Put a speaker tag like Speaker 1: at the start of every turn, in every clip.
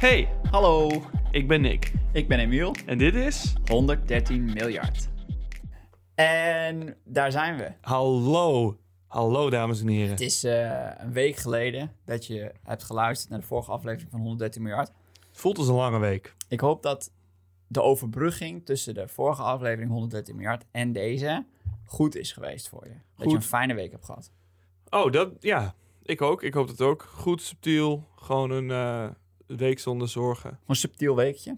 Speaker 1: Hey,
Speaker 2: Hallo,
Speaker 1: ik ben Nick
Speaker 2: ik ben Emiel.
Speaker 1: en dit is...
Speaker 2: 113 miljard. En daar zijn we.
Speaker 1: Hallo. Hallo dames en heren.
Speaker 2: Het is eh, een week geleden dat je hebt geluisterd naar de vorige aflevering van 113 miljard.
Speaker 1: Voelt als een lange week.
Speaker 2: Ik hoop dat de overbrugging tussen de vorige aflevering 113 miljard en deze goed is geweest voor je. Dat
Speaker 1: Goed.
Speaker 2: je een fijne week hebt gehad.
Speaker 1: Oh, dat... Ja, ik ook. Ik hoop dat ook. Goed, subtiel. Gewoon een eh, week zonder zorgen.
Speaker 2: Een subtiel weekje.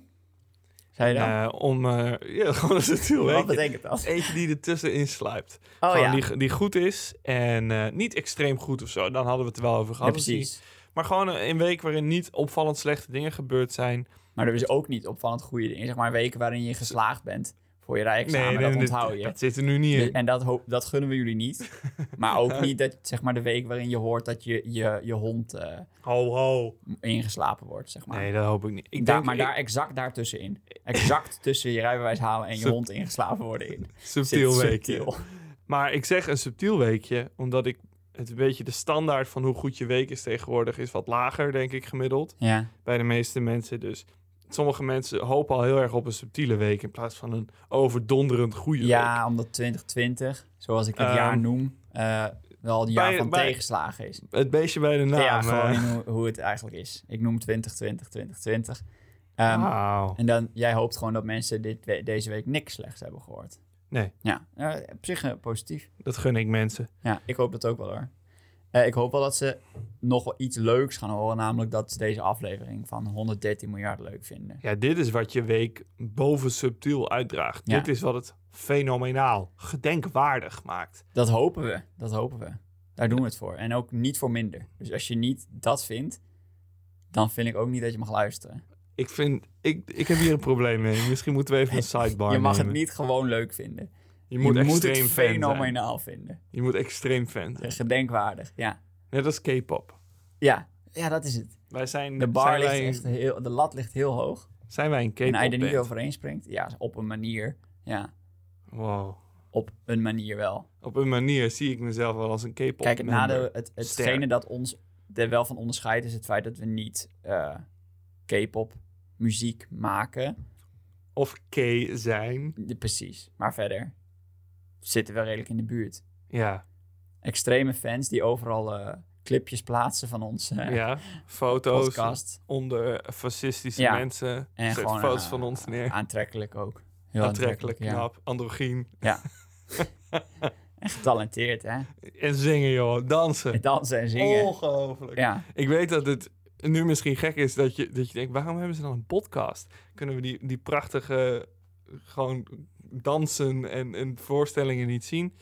Speaker 2: Zei je dat?
Speaker 1: Eh, om... eh, ja, gewoon een subtiel
Speaker 2: Wat
Speaker 1: weekje.
Speaker 2: betekent dat?
Speaker 1: Eentje die ertussenin sluipt.
Speaker 2: Oh
Speaker 1: Gewoon
Speaker 2: ja,
Speaker 1: die, die goed is en eh, niet extreem goed of zo. Dan hadden we het er wel over
Speaker 2: ja
Speaker 1: gehad. misschien.
Speaker 2: precies.
Speaker 1: Maar gewoon een, een week waarin niet opvallend slechte dingen gebeurd zijn.
Speaker 2: Maar er is ook niet opvallend goede dingen. Zeg maar weken waarin je geslaagd bent voor je rijexamen.
Speaker 1: nee,
Speaker 2: dat
Speaker 1: dit-
Speaker 2: onthoud je.
Speaker 1: dat zit er nu niet in.
Speaker 2: Dus, En dat, hoop, dat gunnen we jullie niet. Maar ook niet dat, zeg maar, de week waarin je hoort dat je, je, je hond eh,
Speaker 1: Ho, ho.
Speaker 2: ingeslapen wordt, zeg maar.
Speaker 1: Nee, dat hoop ik niet. Ik
Speaker 2: Daar-
Speaker 1: denk,
Speaker 2: maar
Speaker 1: ik-
Speaker 2: daar exact daartussenin. Exact tussen je rijbewijs halen en je
Speaker 1: Sub-
Speaker 2: hond ingeslapen worden in.
Speaker 1: subtiel
Speaker 2: Zit
Speaker 1: weekje.
Speaker 2: subtiel.
Speaker 1: Maar ik zeg een subtiel weekje, omdat ik het een beetje de standaard van hoe goed je week is tegenwoordig is wat lager, denk ik, gemiddeld.
Speaker 2: Ja.
Speaker 1: Bij de meeste mensen. Dus sommige mensen hopen al heel erg op een subtiele week in plaats van een overdonderend goede week.
Speaker 2: ja, omdat 2020, zoals ik het
Speaker 1: Ehm,
Speaker 2: jaar noem, eh, wel het jaar
Speaker 1: bij-
Speaker 2: van
Speaker 1: bij-
Speaker 2: tegenslagen is.
Speaker 1: Het beestje bij de naam.
Speaker 2: ja, gewoon
Speaker 1: eh.
Speaker 2: in hoe, hoe het eigenlijk is. Ik noem 2020, 2020.
Speaker 1: Ah,
Speaker 2: Ehm,
Speaker 1: Wauw.
Speaker 2: En dan, jij hoopt gewoon dat mensen dit, we- deze week niks slechts hebben gehoord.
Speaker 1: Nee.
Speaker 2: Ja, eh, op zich eh, positief.
Speaker 1: Dat gun ik mensen.
Speaker 2: Ja, ik hoop dat ook wel hoor. Eh, ik hoop wel dat ze nog wel iets leuks gaan horen, namelijk dat ze deze aflevering van 113 miljard leuk vinden.
Speaker 1: Ja, dit is wat je week boven subtiel uitdraagt.
Speaker 2: Ja.
Speaker 1: Dit is wat het fenomenaal, gedenkwaardig maakt.
Speaker 2: Dat hopen we, dat hopen we. Daar doen we het voor. En ook niet voor minder. Dus als je niet dat vindt, dan vind ik ook niet dat je mag luisteren.
Speaker 1: Ik vind, ik, ik heb hier een probleem mee. Misschien moeten we even een sidebar
Speaker 2: je mag het
Speaker 1: nemen.
Speaker 2: niet gewoon leuk vinden.
Speaker 1: Je moet extreem
Speaker 2: het
Speaker 1: fan zijn.
Speaker 2: fenomenaal vinden.
Speaker 1: Je moet extreem fan zijn.
Speaker 2: Gedenkwaardig, ja.
Speaker 1: Net als K-pop.
Speaker 2: Ja. Ja, dat is het.
Speaker 1: Wij zijn,
Speaker 2: De bar
Speaker 1: zijn,
Speaker 2: ligt
Speaker 1: wij, een-
Speaker 2: echt heel, de lat ligt heel hoog.
Speaker 1: zijn wij een
Speaker 2: En hij er
Speaker 1: K-pop
Speaker 2: niet
Speaker 1: band?
Speaker 2: overheen springt, ja, op een manier. Ja,
Speaker 1: Wow.
Speaker 2: op een manier wel.
Speaker 1: Op een manier zie ik mezelf wel als een K-pop
Speaker 2: Kijk, het
Speaker 1: member.
Speaker 2: nadeel, het, hetgene
Speaker 1: Ster.
Speaker 2: dat ons er wel van onderscheidt, is het feit dat we niet eh, K-pop muziek maken.
Speaker 1: Of K zijn.
Speaker 2: Ja, Precies. Maar verder zitten we redelijk in de buurt.
Speaker 1: Ja.
Speaker 2: Extreme fans die overal eh, clipjes plaatsen van onze eh,
Speaker 1: ja. Foto's
Speaker 2: podcast.
Speaker 1: onder fascistische
Speaker 2: Ja.
Speaker 1: mensen.
Speaker 2: En
Speaker 1: Zet
Speaker 2: gewoon
Speaker 1: foto's
Speaker 2: eh,
Speaker 1: van ons neer.
Speaker 2: Aantrekkelijk ook. Heel
Speaker 1: Aantrekkelijk,
Speaker 2: ja.
Speaker 1: knap, androgyn.
Speaker 2: En getalenteerd, hè?
Speaker 1: En zingen, joh. Dansen.
Speaker 2: Met dansen en zingen.
Speaker 1: Oh. Ongelooflijk.
Speaker 2: Ja,
Speaker 1: Ik weet dat het nu misschien gek is dat je, dat je denkt, waarom hebben ze dan een podcast? Kunnen we die, die prachtige gewoon dansen en, en voorstellingen niet zien?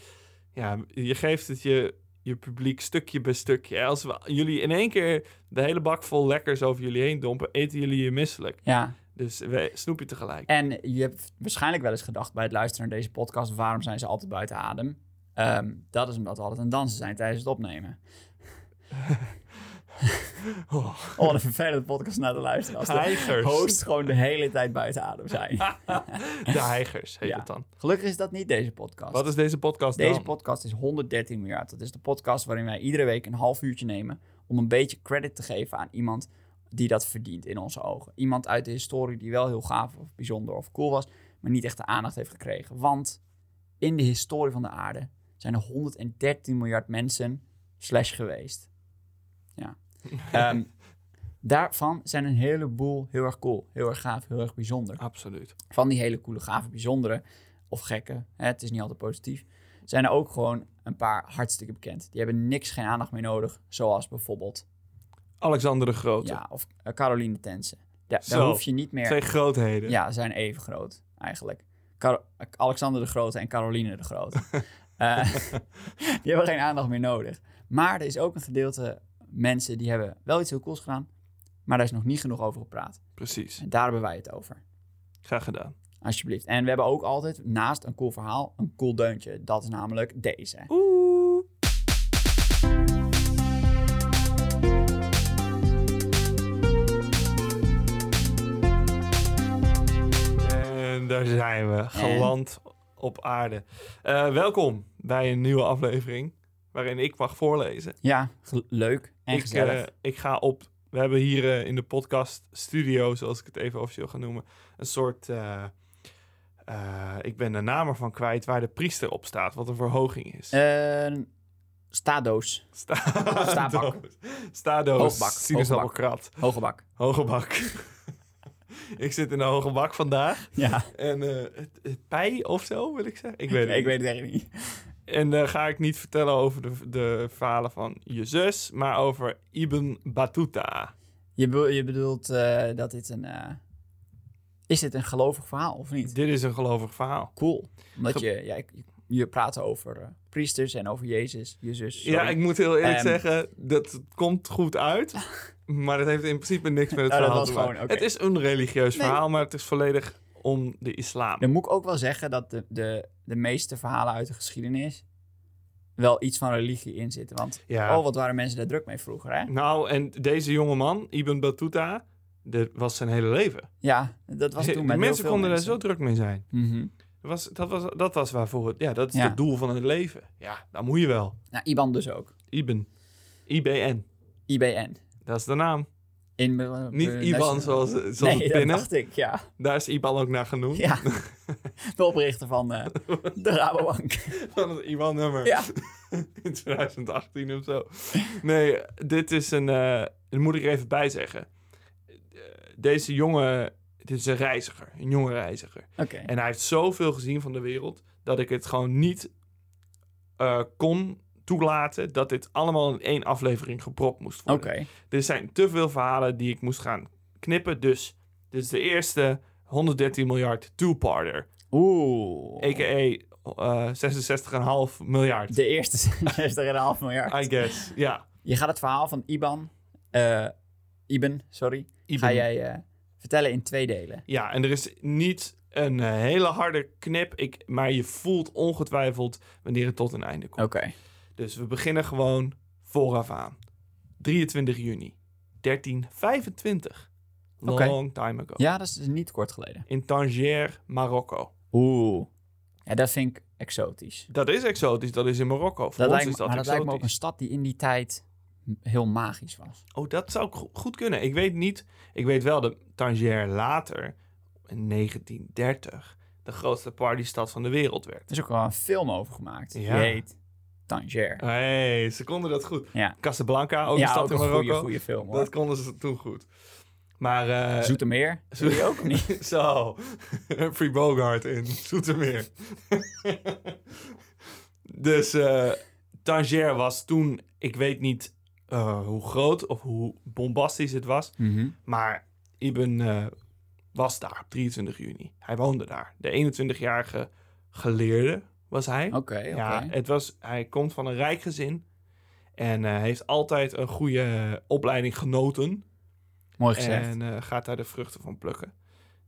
Speaker 1: Ja, je geeft het je, je publiek stukje bij stukje. Als we jullie in één keer de hele bak vol lekkers over jullie heen dompen, eten jullie je misselijk.
Speaker 2: ja.
Speaker 1: Dus we snoep je tegelijk.
Speaker 2: En je hebt waarschijnlijk wel eens gedacht bij het luisteren naar deze podcast: waarom zijn ze altijd buiten adem? Ehm, dat is omdat we altijd aan het dansen zijn tijdens het opnemen.
Speaker 1: Oh,
Speaker 2: Oh, wat een vervelende podcast naar te luisteren. Als de
Speaker 1: Heigers.
Speaker 2: host gewoon de hele tijd buiten adem zijn.
Speaker 1: de heigers heet
Speaker 2: Ja.
Speaker 1: het dan.
Speaker 2: Gelukkig is dat niet deze podcast.
Speaker 1: Wat is deze podcast
Speaker 2: Deze
Speaker 1: dan?
Speaker 2: podcast is 113 miljard. Dat is de podcast waarin wij iedere week een half uurtje nemen om een beetje credit te geven aan iemand die dat verdient in onze ogen. Iemand uit de historie die wel heel gaaf of bijzonder of cool was, maar niet echt de aandacht heeft gekregen. Want in de historie van de aarde zijn er 113 miljard mensen slash geweest. Ja. Ehm, daarvan zijn een heleboel heel erg cool, heel erg gaaf, heel erg bijzonder
Speaker 1: Absoluut.
Speaker 2: van die hele coole, gave, bijzondere of gekke, hè, het is niet altijd positief, zijn er ook gewoon een paar hartstikke bekend. Die hebben niks, geen aandacht meer nodig, zoals bijvoorbeeld,
Speaker 1: Alexander de Grote.
Speaker 2: ja, of eh, Caroline Tense. Da- daar
Speaker 1: Zo,
Speaker 2: hoef je niet meer,
Speaker 1: Twee grootheden.
Speaker 2: ja, zijn even groot eigenlijk. Caro- Alexander de Grote en Caroline de Grote. Eh, die hebben geen aandacht meer nodig. Maar er is ook een gedeelte mensen die hebben wel iets heel cools gedaan, maar daar is nog niet genoeg over gepraat.
Speaker 1: Precies.
Speaker 2: En daar hebben wij het over.
Speaker 1: Graag gedaan.
Speaker 2: Alsjeblieft. En we hebben ook altijd naast een cool verhaal een cool deuntje. Dat is namelijk deze.
Speaker 1: Oeh. En daar zijn we, geland op aarde. Eh, welkom bij een nieuwe aflevering waarin ik mag voorlezen.
Speaker 2: Ja, gel- leuk en
Speaker 1: ik,
Speaker 2: gezellig.
Speaker 1: eh, ik ga op We hebben hier eh, in de podcast studio, zoals ik het even officieel ga noemen, een soort. eh, eh, ik ben de naam ervan kwijt waar de priester op staat, wat een verhoging is.
Speaker 2: Een stadoos.
Speaker 1: Sta-
Speaker 2: Staabak.
Speaker 1: Stadoos.
Speaker 2: Hoogbak,
Speaker 1: Sinaasappelkrat.
Speaker 2: Hoge bak.
Speaker 1: Hoge bak. ik zit in een hoge bak vandaag.
Speaker 2: Ja,
Speaker 1: En eh, het, het pij of zo, wil ik zeggen. Ik weet het
Speaker 2: ik
Speaker 1: niet.
Speaker 2: weet het eigenlijk niet.
Speaker 1: En eh, ga ik niet vertellen over de, de verhalen van je zus, maar over Ibn Battuta.
Speaker 2: Je, bedoelt- je bedoelt eh, dat dit een... eh, is dit een gelovig verhaal of niet?
Speaker 1: Dit is een gelovig verhaal.
Speaker 2: Cool. Omdat
Speaker 1: Ge-
Speaker 2: je, ja, ik- je praat over eh, priesters en over Jezus, Jezus.
Speaker 1: Ja, ik moet heel eerlijk
Speaker 2: Ehm.
Speaker 1: zeggen, dat komt goed uit. Maar dat heeft in principe niks met het
Speaker 2: Oh, dat
Speaker 1: verhaal
Speaker 2: was
Speaker 1: te maken.
Speaker 2: gewoon- oké.
Speaker 1: Het is een religieus
Speaker 2: Nee.
Speaker 1: verhaal, maar het is volledig om de islam.
Speaker 2: Dan moet ik ook wel zeggen dat de, de, de meeste verhalen uit de geschiedenis wel iets van religie in zitten. Want
Speaker 1: Ja.
Speaker 2: oh, wat waren mensen daar druk mee vroeger, hè?
Speaker 1: Nou, en deze jonge man, Ibn Battuta, dat was zijn hele leven.
Speaker 2: Ja, dat was toen met
Speaker 1: mensen
Speaker 2: heel veel
Speaker 1: konden
Speaker 2: mensen.
Speaker 1: daar zo druk mee zijn.
Speaker 2: Mhm.
Speaker 1: Dat was, dat was, dat was waarvoor het... Ja, dat is
Speaker 2: Ja.
Speaker 1: het doel van het leven. Ja, dat moet je wel.
Speaker 2: Nou, IBAN dus ook.
Speaker 1: Ibn. IBN.
Speaker 2: IBN.
Speaker 1: Dat is de naam.
Speaker 2: In, eh,
Speaker 1: Niet
Speaker 2: eh,
Speaker 1: IBAN
Speaker 2: national-
Speaker 1: zoals, zoals
Speaker 2: Nee,
Speaker 1: het
Speaker 2: dat
Speaker 1: binnen.
Speaker 2: dacht ik, ja.
Speaker 1: Daar is IBAN ook naar genoemd.
Speaker 2: Ja. De oprichter van eh, de Rabobank.
Speaker 1: Van het IBAN-nummer.
Speaker 2: Ja.
Speaker 1: in 2018 of zo. Nee, dit is een. eh dat moet ik er even bij zeggen. Eh, Deze jongen. Dit is een reiziger. Een jonge reiziger.
Speaker 2: Oké.
Speaker 1: En hij heeft zoveel gezien van de wereld. dat ik het gewoon niet eh, kon toelaten. dat dit allemaal in één aflevering gepropt moest
Speaker 2: Oké.
Speaker 1: worden. Er zijn te veel verhalen die ik moest gaan knippen. Dus dit is de eerste 113 miljard two-parter.
Speaker 2: Oeh.
Speaker 1: A.k.a. eh 66,5 miljard.
Speaker 2: De eerste 60,5 miljard.
Speaker 1: I guess, ja.
Speaker 2: Je gaat het verhaal van IBAN, eh IBAN, sorry,
Speaker 1: Iben.
Speaker 2: ga jij eh, vertellen in twee delen.
Speaker 1: Ja, en er is niet een eh, hele harde knip, ik, maar je voelt ongetwijfeld wanneer het tot een einde komt. Dus we beginnen gewoon vooraf aan. 23 juni 1325. Long
Speaker 2: Oké.
Speaker 1: time ago.
Speaker 2: Ja, dat is dus niet kort geleden.
Speaker 1: In Tangier, Marokko.
Speaker 2: Oeh. Ja, dat vind ik exotisch.
Speaker 1: Dat is exotisch, dat is in Marokko. Voor
Speaker 2: Dat
Speaker 1: ons
Speaker 2: lijkt me,
Speaker 1: is dat
Speaker 2: maar dat lijkt me ook een
Speaker 1: exotisch.
Speaker 2: stad die in die tijd m- heel magisch was.
Speaker 1: Oh, dat zou go- goed kunnen. Ik weet niet, ik weet wel dat Tangier later, in 1930, de grootste partystad van de wereld werd.
Speaker 2: Er is ook wel een film over gemaakt. Die
Speaker 1: Ja.
Speaker 2: heet Tangier.
Speaker 1: hey, ze konden dat goed.
Speaker 2: Ja.
Speaker 1: Casablanca, ook een
Speaker 2: ja,
Speaker 1: stad
Speaker 2: ook
Speaker 1: in
Speaker 2: een
Speaker 1: Marokko.
Speaker 2: goede, goede film hoor.
Speaker 1: dat konden ze toen goed. Maar eh,
Speaker 2: Zoetermeer? Doe je ook of niet?
Speaker 1: zo, Free Bogart in Zoetermeer. dus eh Tangier was toen, ik weet niet eh, hoe groot of hoe bombastisch het was,
Speaker 2: Mhm.
Speaker 1: maar Ibn eh, was daar op 23 juni. Hij woonde daar. De 21-jarige geleerde was hij.
Speaker 2: Oké, oké.
Speaker 1: Ja, het was, hij komt van een rijk gezin. En eh, heeft altijd een goede eh, opleiding genoten.
Speaker 2: Mooi gezegd.
Speaker 1: En eh, gaat daar de vruchten van plukken.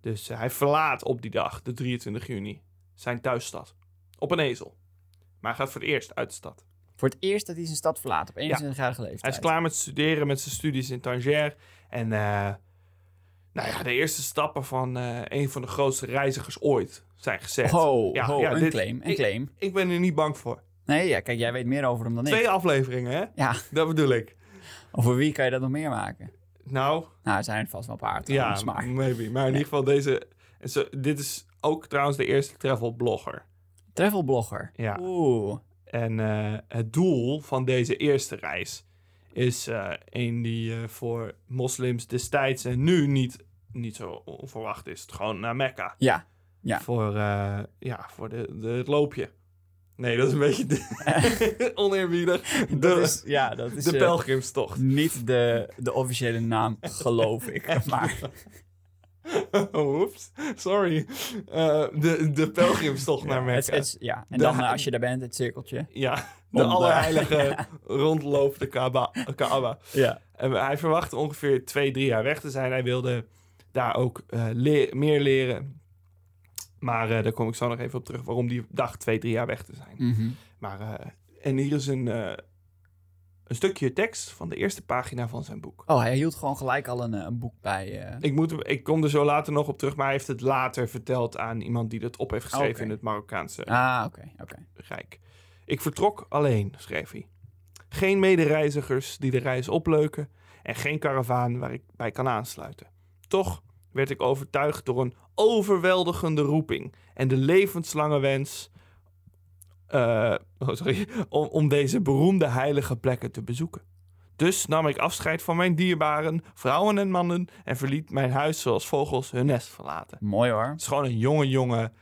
Speaker 1: Dus eh, hij verlaat op die dag, de 23 juni, zijn thuisstad. Op een ezel. Maar hij gaat voor het eerst uit de stad.
Speaker 2: Voor het eerst dat hij zijn stad verlaat op 21-jarige leeftijd.
Speaker 1: Hij is klaar met studeren, met zijn studies in Tangier. En eh, nou ja, de eerste stappen van eh, een van de grootste reizigers ooit zijn gezet.
Speaker 2: Ho,
Speaker 1: Ja,
Speaker 2: ho,
Speaker 1: ja,
Speaker 2: een
Speaker 1: dit-
Speaker 2: claim, een
Speaker 1: ik-
Speaker 2: claim.
Speaker 1: Ik ben er niet bang voor.
Speaker 2: Nee, ja, kijk, jij weet meer over hem dan ik.
Speaker 1: Twee afleveringen, hè?
Speaker 2: Ja,
Speaker 1: Dat bedoel ik.
Speaker 2: over wie kan je dat nog meer maken?
Speaker 1: Nou,
Speaker 2: Nou, er zijn er vast wel een paar
Speaker 1: Ja,
Speaker 2: trouwens, maar...
Speaker 1: maybe. Maar in ieder geval deze... en Zo, dit is ook trouwens de eerste travel blogger.
Speaker 2: Travelblogger.
Speaker 1: Ja.
Speaker 2: Oeh,
Speaker 1: En eh, het doel van deze eerste reis is eh een die eh, voor moslims destijds en nu niet, niet zo onverwacht is. Gewoon naar Mekka.
Speaker 2: ja. Ja.
Speaker 1: Voor, eh, ja, voor de, de, het loopje. Nee, dat is een beetje de- oneerbiedig. De,
Speaker 2: dat is, ja, dat is
Speaker 1: de
Speaker 2: eh,
Speaker 1: pelgrimstocht.
Speaker 2: niet de, de officiële naam, geloof ik. Maar
Speaker 1: Oeps, sorry. Eh, de, de pelgrimstocht naar Mekka.
Speaker 2: het, het is- ja. En
Speaker 1: De-
Speaker 2: dan eh, als je daar bent, het cirkeltje.
Speaker 1: Ja, de
Speaker 2: Om, eh,
Speaker 1: allerheilige rondloopt de Kaaba. Kaaba.
Speaker 2: Ja.
Speaker 1: En hij verwachtte ongeveer twee, drie jaar weg te zijn. Hij wilde daar ook eh, le- meer leren. Maar eh, daar kom ik zo nog even op terug waarom die dacht twee, drie jaar weg te zijn.
Speaker 2: Mhm.
Speaker 1: Maar, eh, en hier is een, eh, een stukje tekst van de eerste pagina van zijn boek.
Speaker 2: Oh, hij hield gewoon gelijk al een, eh, een boek bij. eh,
Speaker 1: Ik, moet, hem- ik kom er zo later nog op terug, maar hij heeft het later verteld aan iemand die dat op heeft geschreven
Speaker 2: Oké.
Speaker 1: in het Marokkaanse
Speaker 2: Ah, oké, oké.
Speaker 1: rijk. Ik vertrok alleen, schreef hij. Geen medereizigers die de reis opleuken en geen karavaan waar ik bij kan aansluiten. Toch werd ik overtuigd door een overweldigende roeping en de levenslange wens eh, oh, sorry, om, om deze beroemde heilige plekken te bezoeken. Dus nam ik afscheid van mijn dierbaren, vrouwen en mannen en verliet mijn huis zoals vogels hun nest verlaten.
Speaker 2: Mooi hoor.
Speaker 1: Het is gewoon een jonge jongen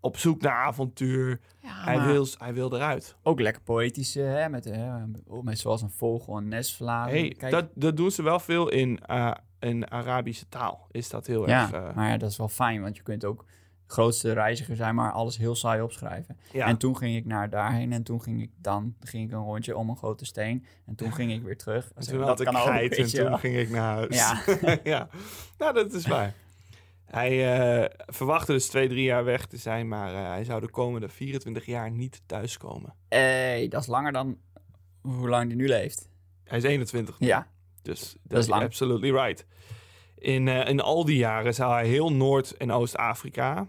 Speaker 1: op zoek naar avontuur.
Speaker 2: Ja,
Speaker 1: Hij, wil, hij wil eruit.
Speaker 2: ook lekker poëtisch, eh, hè? Met, eh, oh, met zoals een vogel een nest verlaten.
Speaker 1: Hey,
Speaker 2: Kijk,
Speaker 1: dat, dat doen ze wel veel in, eh, in Arabische taal. Is dat heel
Speaker 2: ja,
Speaker 1: erg. eh,
Speaker 2: maar ja, dat is wel fijn, want je kunt ook grootste reiziger zijn, maar alles heel saai opschrijven.
Speaker 1: ja.
Speaker 2: En toen ging ik naar daarheen en toen ging ik dan ging ik een rondje om een grote steen en toen ging ik weer terug.
Speaker 1: En toen had ik geit en toen ging ik naar huis.
Speaker 2: Ja.
Speaker 1: ja. Nou, dat is waar. Hij eh, verwachtte dus twee, drie jaar weg te zijn, maar eh, hij zou de komende 24 jaar niet thuiskomen.
Speaker 2: hey, Eh, dat is langer dan hoe lang die nu leeft.
Speaker 1: Hij is 21 nu,
Speaker 2: Ja,
Speaker 1: dus dat
Speaker 2: is
Speaker 1: is
Speaker 2: lang.
Speaker 1: absolutely right. In, eh, in al die jaren zou hij heel Noord- en Oost-Afrika,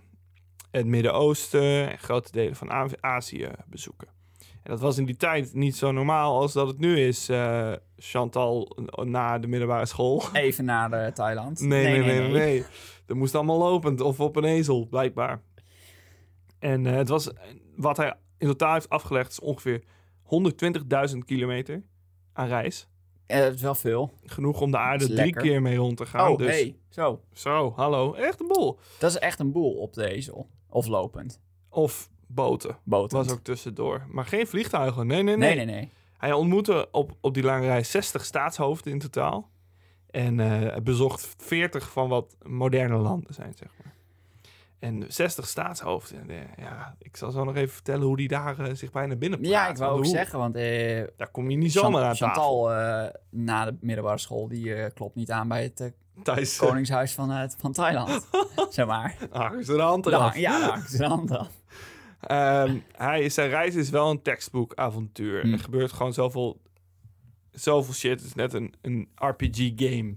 Speaker 1: het Midden-Oosten en grote delen van A- Azië bezoeken. En dat was in die tijd niet zo normaal als dat het nu is, eh, Chantal, eh, na de middelbare school.
Speaker 2: even naar eh, Thailand.
Speaker 1: Nee, nee, nee, nee. nee. Dat moest allemaal lopend of op een ezel, blijkbaar. En eh, het was, wat hij in totaal heeft afgelegd, is ongeveer 120.000 kilometer aan reis.
Speaker 2: Eh, het is wel veel.
Speaker 1: Genoeg om de aarde
Speaker 2: Dat is
Speaker 1: drie
Speaker 2: lekker.
Speaker 1: keer mee rond te gaan.
Speaker 2: oh,
Speaker 1: dus
Speaker 2: hey, zo.
Speaker 1: zo, hallo, echt een boel.
Speaker 2: Dat is echt een boel op de ezel. Of lopend.
Speaker 1: Of boten.
Speaker 2: Boot.
Speaker 1: Was ook tussendoor. Maar geen vliegtuigen. Nee, nee, nee.
Speaker 2: Nee, nee, nee.
Speaker 1: Hij ontmoette op, op die lange reis 60 staatshoofden in totaal. En eh, bezocht 40 van wat moderne landen zijn, zeg maar. En 60 staatshoofden. En, eh, ja, ik zal zo nog even vertellen hoe die daar eh, zich bijna binnen praat.
Speaker 2: Ja, ik wou
Speaker 1: Want
Speaker 2: ook
Speaker 1: hoe-
Speaker 2: zeggen, want eh,
Speaker 1: Daar kom je niet
Speaker 2: Chan-
Speaker 1: zomaar aan tafel.
Speaker 2: Chantal eh, na de middelbare school, die eh, klopt niet aan bij het eh,
Speaker 1: Thijs, eh,
Speaker 2: koningshuis van, eh, van Thailand. zeg maar.
Speaker 1: hakken ze de hand eraf.
Speaker 2: Daar, ja, daar is dan dan.
Speaker 1: Ehm, hij, zijn reis is wel een textbook avontuur.
Speaker 2: Hmm.
Speaker 1: Er gebeurt gewoon zoveel, zoveel shit. Het is net een, een RPG-game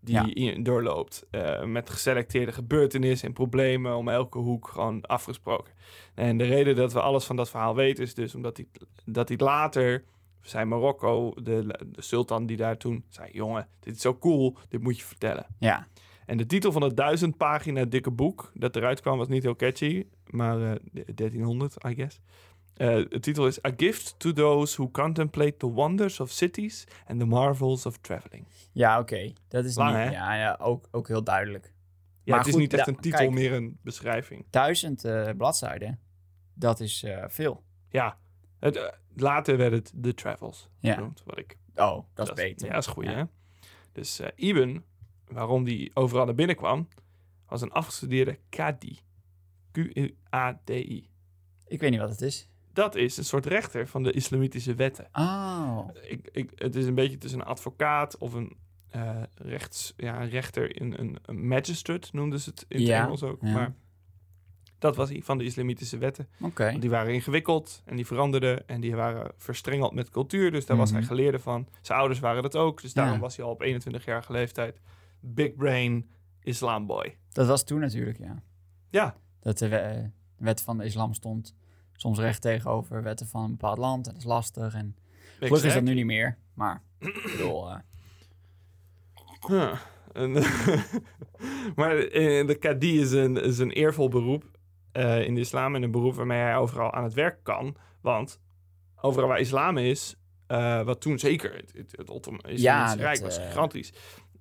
Speaker 1: die
Speaker 2: Ja.
Speaker 1: je doorloopt. eh, met geselecteerde gebeurtenissen en problemen om elke hoek gewoon afgesproken. En de reden dat we alles van dat verhaal weten is dus omdat hij, dat hij later... Zijn Marokko, de, de sultan die daar toen zei... jongen, dit is zo cool, dit moet je vertellen.
Speaker 2: Ja,
Speaker 1: En de titel van het duizend pagina dikke boek dat eruit kwam was niet heel catchy, maar eh, 1300, I guess. Eh, de titel is A Gift to Those Who Contemplate the Wonders of Cities and the Marvels of Traveling.
Speaker 2: ja oké. Dat is
Speaker 1: Lang,
Speaker 2: niet,
Speaker 1: hè?
Speaker 2: ja, ja, ook, ook heel duidelijk.
Speaker 1: Ja,
Speaker 2: Maar
Speaker 1: het is
Speaker 2: goed,
Speaker 1: niet echt
Speaker 2: da-
Speaker 1: een titel,
Speaker 2: kijk.
Speaker 1: meer een beschrijving.
Speaker 2: Duizend eh, bladzijden, dat is eh, veel.
Speaker 1: Ja, het, eh, later werd het The Travels
Speaker 2: Ja.
Speaker 1: genoemd, wat ik
Speaker 2: Oh, dat, is beter.
Speaker 1: Ja, dat is goed,
Speaker 2: Ja.
Speaker 1: hè? Dus eh, Ibn, waarom die overal naar binnen kwam, was een afgestudeerde Qadi. Q-A-D-I.
Speaker 2: Ik weet niet wat het is.
Speaker 1: Dat is een soort rechter van de islamitische wetten.
Speaker 2: Oh,
Speaker 1: ik, ik, het is een beetje tussen een advocaat of een, eh, rechts, ja, een rechter, een, een, een magistrate noemden ze het in het
Speaker 2: Ja,
Speaker 1: Engels ook.
Speaker 2: ja.
Speaker 1: Maar dat was hij van de islamitische wetten.
Speaker 2: oké.
Speaker 1: Want die waren ingewikkeld en die veranderden en die waren verstrengeld met cultuur. Dus daar was hij
Speaker 2: Mhm.
Speaker 1: geleerde van. Zijn ouders waren dat ook. Dus daarom
Speaker 2: Ja.
Speaker 1: was hij al op 21-jarige leeftijd big brain islamboy.
Speaker 2: Dat was toen natuurlijk, ja.
Speaker 1: Ja.
Speaker 2: Dat de we- de wet van de islam stond soms recht tegenover wetten van een bepaald land. En dat is lastig. En gelukkig is dat nu niet meer. Maar, ik bedoel, eh,
Speaker 1: Ja. En, maar eh, de kadi is een, is een eervol beroep eh, in de islam en een beroep waarmee hij overal aan het werk kan. Want overal waar islam is, eh, wat toen zeker het, het, het Ottomaanse
Speaker 2: Ja, dat,
Speaker 1: Rijk was
Speaker 2: eh,
Speaker 1: gigantisch,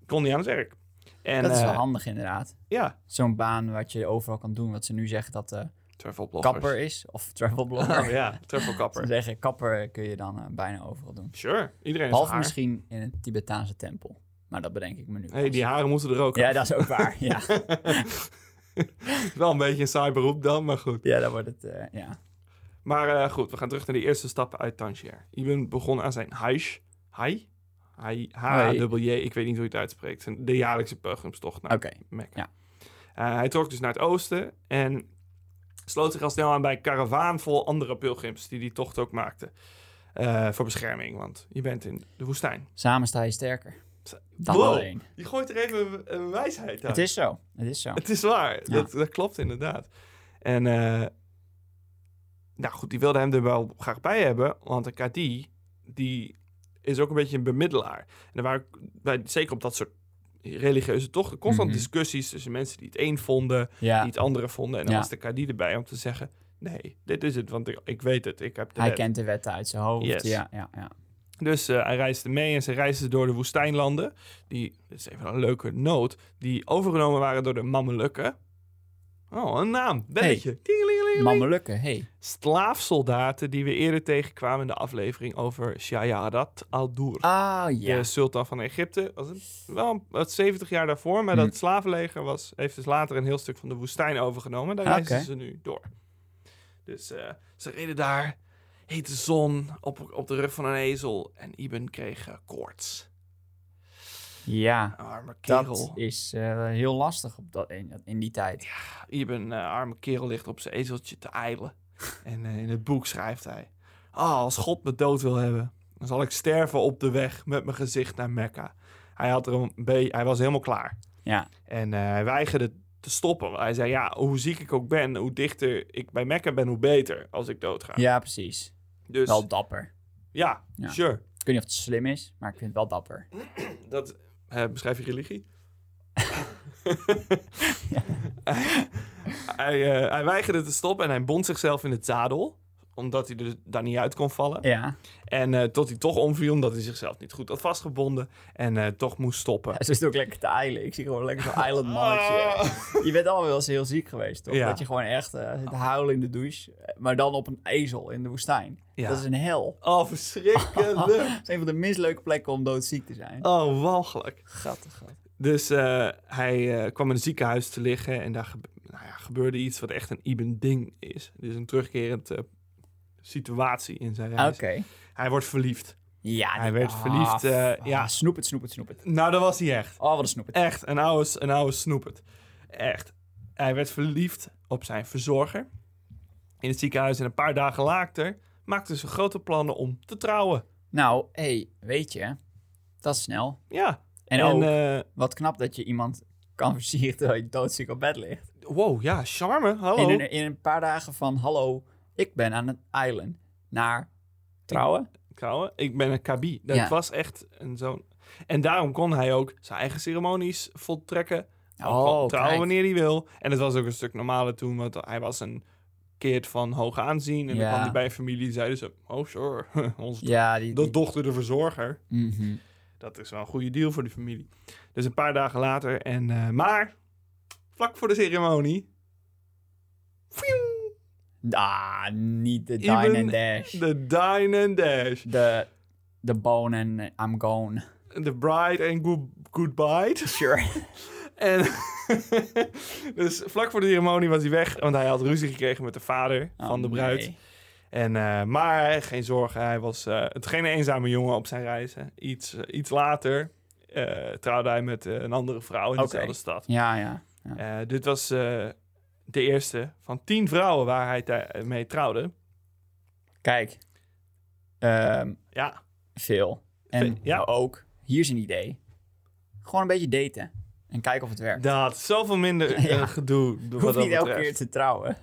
Speaker 1: kon hij aan het werk. En,
Speaker 2: dat is wel
Speaker 1: eh,
Speaker 2: handig inderdaad.
Speaker 1: Ja,
Speaker 2: Zo'n baan wat je overal kan doen. Wat ze nu zeggen dat eh
Speaker 1: travel bloggers.
Speaker 2: kapper is. Of travel blogger.
Speaker 1: Oh, ja, travel
Speaker 2: Ze
Speaker 1: kapper.
Speaker 2: zeggen kapper kun je dan eh, bijna overal doen.
Speaker 1: Sure, iedereen is
Speaker 2: Behalve
Speaker 1: haar.
Speaker 2: misschien in een Tibetaanse tempel. Maar dat bedenk ik me nu.
Speaker 1: Hey,
Speaker 2: pas.
Speaker 1: die haren moeten er ook
Speaker 2: Ja,
Speaker 1: af.
Speaker 2: dat is ook waar. ja.
Speaker 1: wel een beetje een saai beroep dan, maar goed.
Speaker 2: ja, dan wordt het... eh, ja.
Speaker 1: Maar eh, goed, we gaan terug naar de eerste stappen uit Tangier. Ibn begon aan zijn Hajj. Hajj? Hajj, H-A-J-J, ik weet niet hoe je het uitspreekt. Zijn- De jaarlijkse pelgrimstocht naar
Speaker 2: Oké.
Speaker 1: Mekka.
Speaker 2: ja.
Speaker 1: Eh, hij trok dus naar het oosten en sloot zich al snel aan bij een karavaan vol andere pelgrims die die tocht ook maakten. Eh, voor bescherming, want je bent in de woestijn.
Speaker 2: Samen sta je sterker. Dan
Speaker 1: Wow,
Speaker 2: alleen.
Speaker 1: Je gooit er even een, een wijsheid uit.
Speaker 2: Het is zo. Het is zo.
Speaker 1: Het is waar. Dat, dat klopt inderdaad. En eh, nou goed, die wilde hem er wel graag bij hebben. Want de Kadi, die is ook een beetje een bemiddelaar. En er waren bij, zeker op dat soort religieuze tochten constant
Speaker 2: Mhm.
Speaker 1: discussies tussen mensen die het een vonden,
Speaker 2: Ja,
Speaker 1: die het andere vonden. En dan
Speaker 2: Ja.
Speaker 1: was de kadi erbij om te zeggen, nee, dit is het, want ik, ik weet het, ik heb de
Speaker 2: hij
Speaker 1: wet.
Speaker 2: kent de wetten uit zijn hoofd.
Speaker 1: Yes.
Speaker 2: Ja, ja, ja.
Speaker 1: Dus eh, hij reisde mee en ze reisden door de woestijnlanden. Die, dit is even een leuke noot, die overgenomen waren door de Mamelukken. Oh, een naam, belletje. Tingelingelingeling.
Speaker 2: Mamelukken, hey.
Speaker 1: Slaafsoldaten die we eerder tegenkwamen in de aflevering over Shayarat al-Dur.
Speaker 2: Ah, ja.
Speaker 1: De sultan van Egypte. Was het wel een- wat 70 jaar daarvoor, maar
Speaker 2: Hm.
Speaker 1: dat slavenleger was, heeft dus later een heel stuk van de woestijn overgenomen. Daar
Speaker 2: Ah,
Speaker 1: reizen
Speaker 2: oké.
Speaker 1: ze nu door. Dus eh, ze reden daar, hete zon, op, op de rug van een ezel. En Ibn kreeg eh, koorts.
Speaker 2: Ja,
Speaker 1: Arme kerel.
Speaker 2: dat is eh, heel lastig op dat, in, in die tijd.
Speaker 1: Iben, eh, arme kerel, ligt op zijn ezeltje te ijlen. En eh, in het boek schrijft hij... Ah, als God me dood wil hebben, dan zal ik sterven op de weg met mijn gezicht naar Mekka. Hij, had er een be- hij was helemaal klaar.
Speaker 2: Ja.
Speaker 1: En eh, hij weigerde te stoppen. Hij zei, ja, hoe ziek ik ook ben, hoe dichter ik bij Mekka ben, hoe beter als ik doodga.
Speaker 2: Ja, precies.
Speaker 1: Dus
Speaker 2: Wel dapper.
Speaker 1: ja,
Speaker 2: Ja.
Speaker 1: sure.
Speaker 2: Ik weet niet of het slim is, maar ik vind het wel dapper.
Speaker 1: Hm? Dat eh, beschrijf je religie. hij, eh, hij weigerde te stoppen en hij bond zichzelf in het zadel. Omdat hij er daar niet uit kon vallen.
Speaker 2: Ja,
Speaker 1: En eh, tot hij toch omviel omdat hij zichzelf niet goed had vastgebonden. En eh, toch moest stoppen.
Speaker 2: ze is ook lekker te eilen. Ik zie gewoon lekker zo'n island mannetje.
Speaker 1: Ah.
Speaker 2: Je bent allemaal wel eens heel ziek geweest, toch?
Speaker 1: Ja.
Speaker 2: Dat je gewoon echt eh, zit te huilen in de douche, eh, maar dan op een ezel in de woestijn.
Speaker 1: Ja.
Speaker 2: Dat is een hel.
Speaker 1: Oh,
Speaker 2: dat
Speaker 1: verschrikkelijk.
Speaker 2: is een van de minst leuke plekken om doodziek te zijn.
Speaker 1: Oh, walgelijk.
Speaker 2: Gattig, gat.
Speaker 1: Dus eh, hij eh, kwam in een ziekenhuis te liggen en daar gebe- nou ja, gebeurde iets wat echt een Ibn Ding is. Dus een terugkerend eh, situatie in zijn
Speaker 2: Oké.
Speaker 1: reis. Hij wordt verliefd.
Speaker 2: Ja,
Speaker 1: Hij
Speaker 2: die-
Speaker 1: werd
Speaker 2: ah,
Speaker 1: verliefd, eh,
Speaker 2: ah,
Speaker 1: ja.
Speaker 2: Snoep het, snoep het, snoep het.
Speaker 1: Nou, dat was hij echt.
Speaker 2: Oh, wat een snoep het.
Speaker 1: Echt, een oude, s- een oude snoepert. Echt. Hij werd verliefd op zijn verzorger in het ziekenhuis en een paar dagen later maakte ze grote plannen om te trouwen.
Speaker 2: Nou, hé, hey, weet je, dat is snel.
Speaker 1: Ja.
Speaker 2: En, ook,
Speaker 1: eh,
Speaker 2: wat knap dat je iemand kan versieren terwijl je doodziek op bed ligt.
Speaker 1: wow, ja, charme. Hallo.
Speaker 2: In e- een, in een paar dagen van, hallo, ik ben aan het eiland, naar trouwen.
Speaker 1: trouwen. Ik ben een kabi. Dat
Speaker 2: Ja.
Speaker 1: was echt een zo'n... En daarom kon hij ook zijn eigen ceremonies voltrekken. Hij kon Oh, trouwen
Speaker 2: Oh, kijk.
Speaker 1: wanneer hij wil. En het was ook een stuk normaler toen, want hij was een keert van hoog aanzien. En dan
Speaker 2: Ja.
Speaker 1: kwam hij bij een familie en zeiden ze... Oh, sure. Onze
Speaker 2: Ja, die...
Speaker 1: do-
Speaker 2: die-
Speaker 1: dochter de verzorger.
Speaker 2: Mhm.
Speaker 1: Dat is wel een goede deal voor die familie. Dus een paar dagen later. En, eh, maar, vlak voor de ceremonie... Pfiong,
Speaker 2: Ah, niet de
Speaker 1: Even
Speaker 2: dine and dash. De,
Speaker 1: De dine and dash.
Speaker 2: de, bone and I'm gone.
Speaker 1: De bride and good, goodbye.
Speaker 2: Sure.
Speaker 1: En dus vlak voor de ceremonie was hij weg, want hij had ruzie gekregen met de vader
Speaker 2: Oh,
Speaker 1: van de bruid. En, eh, maar geen zorgen, hij was eh, het geen eenzame jongen op zijn reizen. Iets, eh, iets later eh, trouwde hij met eh, een andere vrouw in
Speaker 2: Oké.
Speaker 1: dezelfde stad.
Speaker 2: Ja, ja.
Speaker 1: Eh, dit was eh, de eerste van tien vrouwen waar hij tij- mee trouwde.
Speaker 2: Kijk. Ehm,
Speaker 1: Ja,
Speaker 2: veel. En
Speaker 1: Ve- ja.
Speaker 2: ook, hier is een idee. Gewoon een beetje daten. En kijken of het werkt.
Speaker 1: dat is zoveel minder eh,
Speaker 2: Ja.
Speaker 1: gedoe.
Speaker 2: Je
Speaker 1: Wat
Speaker 2: hoeft
Speaker 1: dat
Speaker 2: niet elke keer
Speaker 1: betreft.
Speaker 2: te trouwen.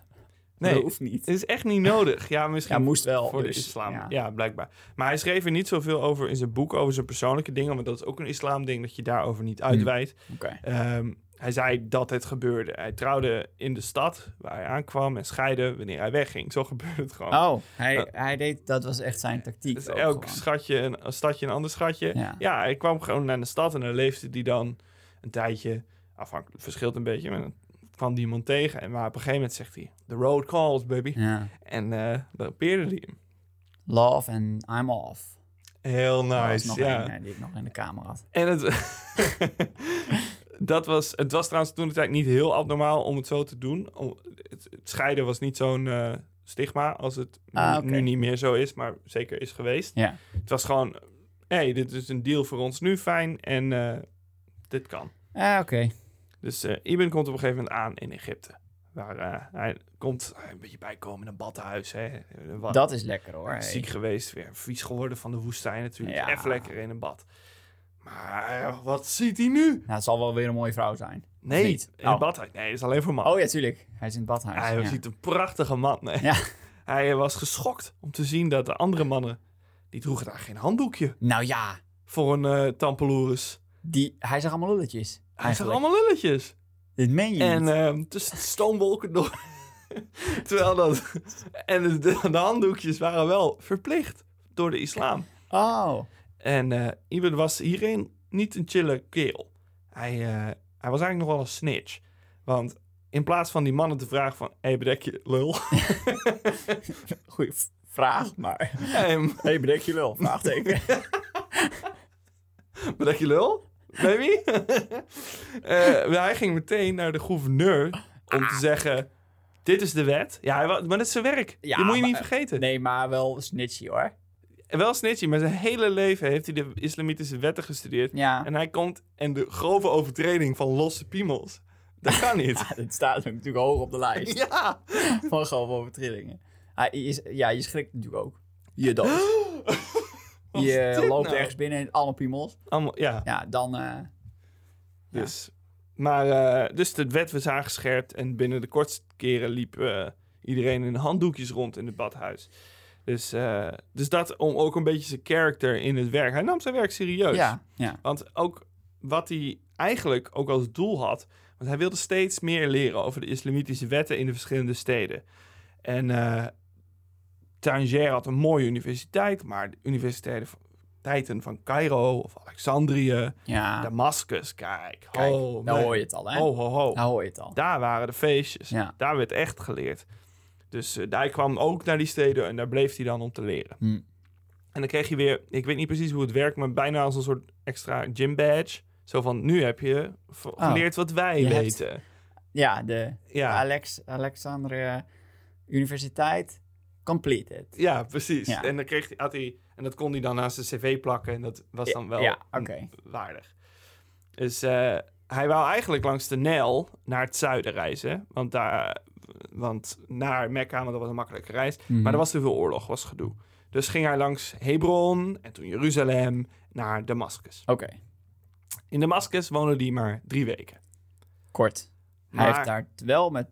Speaker 1: Nee.
Speaker 2: Dat hoeft niet.
Speaker 1: Het is echt niet nodig. Ja, misschien
Speaker 2: Ja, moest wel.
Speaker 1: voor
Speaker 2: dus,
Speaker 1: de islam. Ja.
Speaker 2: Ja.
Speaker 1: blijkbaar. Maar hij schreef er niet zoveel over in zijn boek, over zijn persoonlijke dingen. Want dat is ook een islamding, dat je daarover niet
Speaker 2: Hmm.
Speaker 1: uitwijdt.
Speaker 2: Oké.
Speaker 1: Ehm, hij zei dat het gebeurde. Hij trouwde in de stad waar hij aankwam en scheidde wanneer hij wegging. Zo gebeurde het gewoon.
Speaker 2: Oh, hij, hij deed, dat was echt zijn tactiek.
Speaker 1: dus
Speaker 2: ook
Speaker 1: elk
Speaker 2: gewoon.
Speaker 1: schatje, een, een stadje, een ander schatje.
Speaker 2: Ja.
Speaker 1: hij kwam gewoon naar de stad en dan leefde die dan een tijdje. Afhankelijk, het verschilt een beetje. Maar dan kwam die iemand tegen. En maar op een gegeven moment zegt hij: The road calls, baby.
Speaker 2: Ja.
Speaker 1: En eh dan peerde hij hem.
Speaker 2: Love and I'm off.
Speaker 1: Heel
Speaker 2: Dat was
Speaker 1: nice.
Speaker 2: nog
Speaker 1: ja.
Speaker 2: één, eh, die ik nog in de kamer had.
Speaker 1: En het, dat was, het was trouwens toen de tijd niet heel abnormaal om het zo te doen. Om- het, het scheiden was niet zo'n eh, stigma als het nu-
Speaker 2: Ah, oké.
Speaker 1: nu niet meer zo is, maar zeker is geweest.
Speaker 2: Ja.
Speaker 1: Het was gewoon, hé, hey, dit is een deal voor ons nu, fijn, en eh, dit kan.
Speaker 2: Ah, oké.
Speaker 1: Dus eh Ibn komt op een gegeven moment aan in Egypte. Waar eh, hij komt eh, een beetje bijkomen in een badhuis. Hè. Eh, wat-
Speaker 2: Dat is lekker hoor. hey.
Speaker 1: ziek geweest, weer vies geworden van de woestijn natuurlijk.
Speaker 2: Ja.
Speaker 1: Even lekker in een bad. Maar eh, wat ziet hij nu?
Speaker 2: Nou, het zal wel weer een mooie vrouw zijn.
Speaker 1: Nee,
Speaker 2: Niet?
Speaker 1: in het
Speaker 2: Oh.
Speaker 1: badhuis. Nee, dat is alleen voor mannen.
Speaker 2: Oh ja, tuurlijk. Hij is in het badhuis.
Speaker 1: hij
Speaker 2: ja.
Speaker 1: ziet een prachtige man. Nee.
Speaker 2: Ja.
Speaker 1: Hij was geschokt om te zien dat de andere mannen die droegen daar geen handdoekje
Speaker 2: Nou ja,
Speaker 1: voor een eh tampeloeres.
Speaker 2: die, hij zag allemaal eh, lulletjes.
Speaker 1: Hij zag
Speaker 2: eigenlijk.
Speaker 1: allemaal lulletjes.
Speaker 2: Dit meen je
Speaker 1: En
Speaker 2: niet.
Speaker 1: ehm, tussen de stoomwolken door. Terwijl dat... En de, de handdoekjes waren wel verplicht door de islam.
Speaker 2: Oh.
Speaker 1: En eh Ibn was hierin niet een chille kerel. Hij, eh, hij was eigenlijk nog wel een snitch. Want in plaats van die mannen te vragen van... Hé, hey, bedek je lul.
Speaker 2: Goeie v- vraag, maar...
Speaker 1: Hey,
Speaker 2: hey, bedek je lul? Vraagteken.
Speaker 1: bedek je lul? Baby? Eh, hij ging meteen naar de gouverneur om
Speaker 2: Ah.
Speaker 1: te zeggen... Dit is de wet. Ja, hij wa- maar dat is zijn werk.
Speaker 2: Ja,
Speaker 1: Dit moet je
Speaker 2: maar-
Speaker 1: niet vergeten.
Speaker 2: nee, maar wel snitchy, hoor.
Speaker 1: Wel snitchy, maar zijn hele leven heeft hij de islamitische wetten gestudeerd.
Speaker 2: Ja.
Speaker 1: En hij komt... En de grove overtreding van losse piemels... Dat kan niet.
Speaker 2: Dit staat ook natuurlijk hoog op de lijst.
Speaker 1: ja!
Speaker 2: Van grove overtredingen. Hij is, ja, je schrikt natuurlijk ook. Je dood.
Speaker 1: Wat is
Speaker 2: je
Speaker 1: dit
Speaker 2: loopt
Speaker 1: nou?
Speaker 2: ergens binnen en allemaal piemels.
Speaker 1: Allemaal, ja,
Speaker 2: Ja, dan... eh,
Speaker 1: dus. Maar, eh, dus de wet was aangescherpt en binnen de kortste keren liep eh, iedereen in handdoekjes rond in het badhuis. Dus, eh, dus dat om ook een beetje zijn karakter in het werk. Hij nam zijn werk serieus.
Speaker 2: ja, ja.
Speaker 1: Want ook wat hij eigenlijk ook als doel had. Want hij wilde steeds meer leren over de islamitische wetten in de verschillende steden. En eh Tanger had een mooie universiteit, maar de universiteiten van- tijden van Cairo of Alexandrië,
Speaker 2: Ja,
Speaker 1: Damascus, kijk.
Speaker 2: Ah. kijk, Oh.
Speaker 1: ho,
Speaker 2: daar
Speaker 1: man.
Speaker 2: hoor je het al, hè?
Speaker 1: Ho, ho, ho.
Speaker 2: Daar hoor je het al.
Speaker 1: Daar waren de feestjes.
Speaker 2: Ja.
Speaker 1: Daar werd echt geleerd. Dus eh, daar kwam ook naar die steden en daar bleef hij dan om te leren.
Speaker 2: Hm.
Speaker 1: En dan kreeg je weer, ik weet niet precies hoe het werkt, maar bijna als een soort extra gym badge. Zo van, nu heb je v-
Speaker 2: Oh.
Speaker 1: geleerd wat wij
Speaker 2: Je hebt-
Speaker 1: weten.
Speaker 2: Ja, de
Speaker 1: Ja.
Speaker 2: Alex, Alexandria Universiteit completed.
Speaker 1: ja, precies.
Speaker 2: Ja.
Speaker 1: En dan kreeg hij, had hij, en dat kon hij dan naast zijn cv plakken en dat was dan wel
Speaker 2: Ja, oké.
Speaker 1: waardig. Dus eh, hij wou eigenlijk langs de Nijl naar het zuiden reizen. Want, daar, want naar Mekka, want dat was een makkelijke reis.
Speaker 2: Mhm.
Speaker 1: Maar er was te veel oorlog, was gedoe. Dus ging hij langs Hebron en toen Jeruzalem naar Damascus.
Speaker 2: Oké,
Speaker 1: In Damascus woonde hij maar drie weken.
Speaker 2: kort. Hij
Speaker 1: Maar-
Speaker 2: heeft daar t- wel met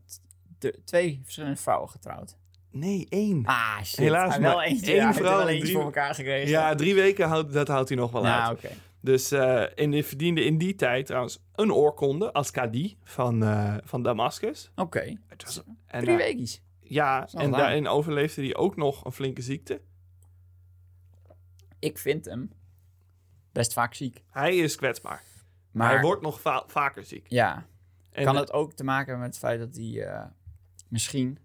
Speaker 2: de- twee verschillende vrouwen getrouwd.
Speaker 1: Nee, één.
Speaker 2: Ah, shit.
Speaker 1: Helaas
Speaker 2: Hij wel
Speaker 1: maar
Speaker 2: eentje,
Speaker 1: één
Speaker 2: ja, hij heeft er
Speaker 1: vrouw
Speaker 2: wel
Speaker 1: en
Speaker 2: eentje
Speaker 1: drie-
Speaker 2: voor elkaar gekregen.
Speaker 1: Ja, drie weken, houdt, dat houdt hij nog wel uit.
Speaker 2: nou, oké.
Speaker 1: Dus eh en hij verdiende in die tijd trouwens een oorkonde als kadi van, eh, van Damascus.
Speaker 2: Oké,
Speaker 1: Het was- en eh, nou-
Speaker 2: drie
Speaker 1: daar-
Speaker 2: weekjes.
Speaker 1: Ja,
Speaker 2: wel
Speaker 1: en
Speaker 2: lang.
Speaker 1: daarin overleefde hij ook nog een flinke ziekte.
Speaker 2: Ik vind hem best vaak ziek.
Speaker 1: Hij is kwetsbaar.
Speaker 2: Maar
Speaker 1: Hij wordt nog va- vaker ziek.
Speaker 2: ja,
Speaker 1: En
Speaker 2: kan het ook te maken hebben met het feit dat hij eh, misschien